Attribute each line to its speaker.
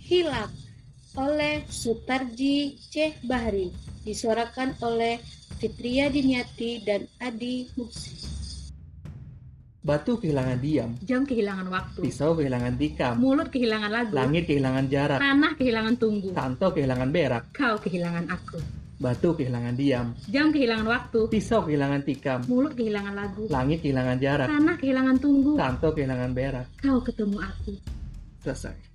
Speaker 1: Hilak oleh Sutarji C. Bahri, disuarakan oleh Fitria Diniati dan Adi Muksi.
Speaker 2: Batu kehilangan diam,
Speaker 3: Jam kehilangan waktu.
Speaker 2: pisau kehilangan tikam,
Speaker 3: Mulut kehilangan lagu.
Speaker 2: langit kehilangan jarak,
Speaker 3: Tanah kehilangan tunggu.
Speaker 2: tanto kehilangan berak,
Speaker 3: Kau kehilangan aku.
Speaker 2: batu kehilangan diam,
Speaker 3: Jam kehilangan waktu.
Speaker 2: pisau kehilangan tikam,
Speaker 3: Mulut kehilangan lagu.
Speaker 2: langit kehilangan jarak,
Speaker 3: Tanah kehilangan tunggu.
Speaker 2: tanto kehilangan berak.
Speaker 3: Kau ketemu aku.
Speaker 2: Selesai.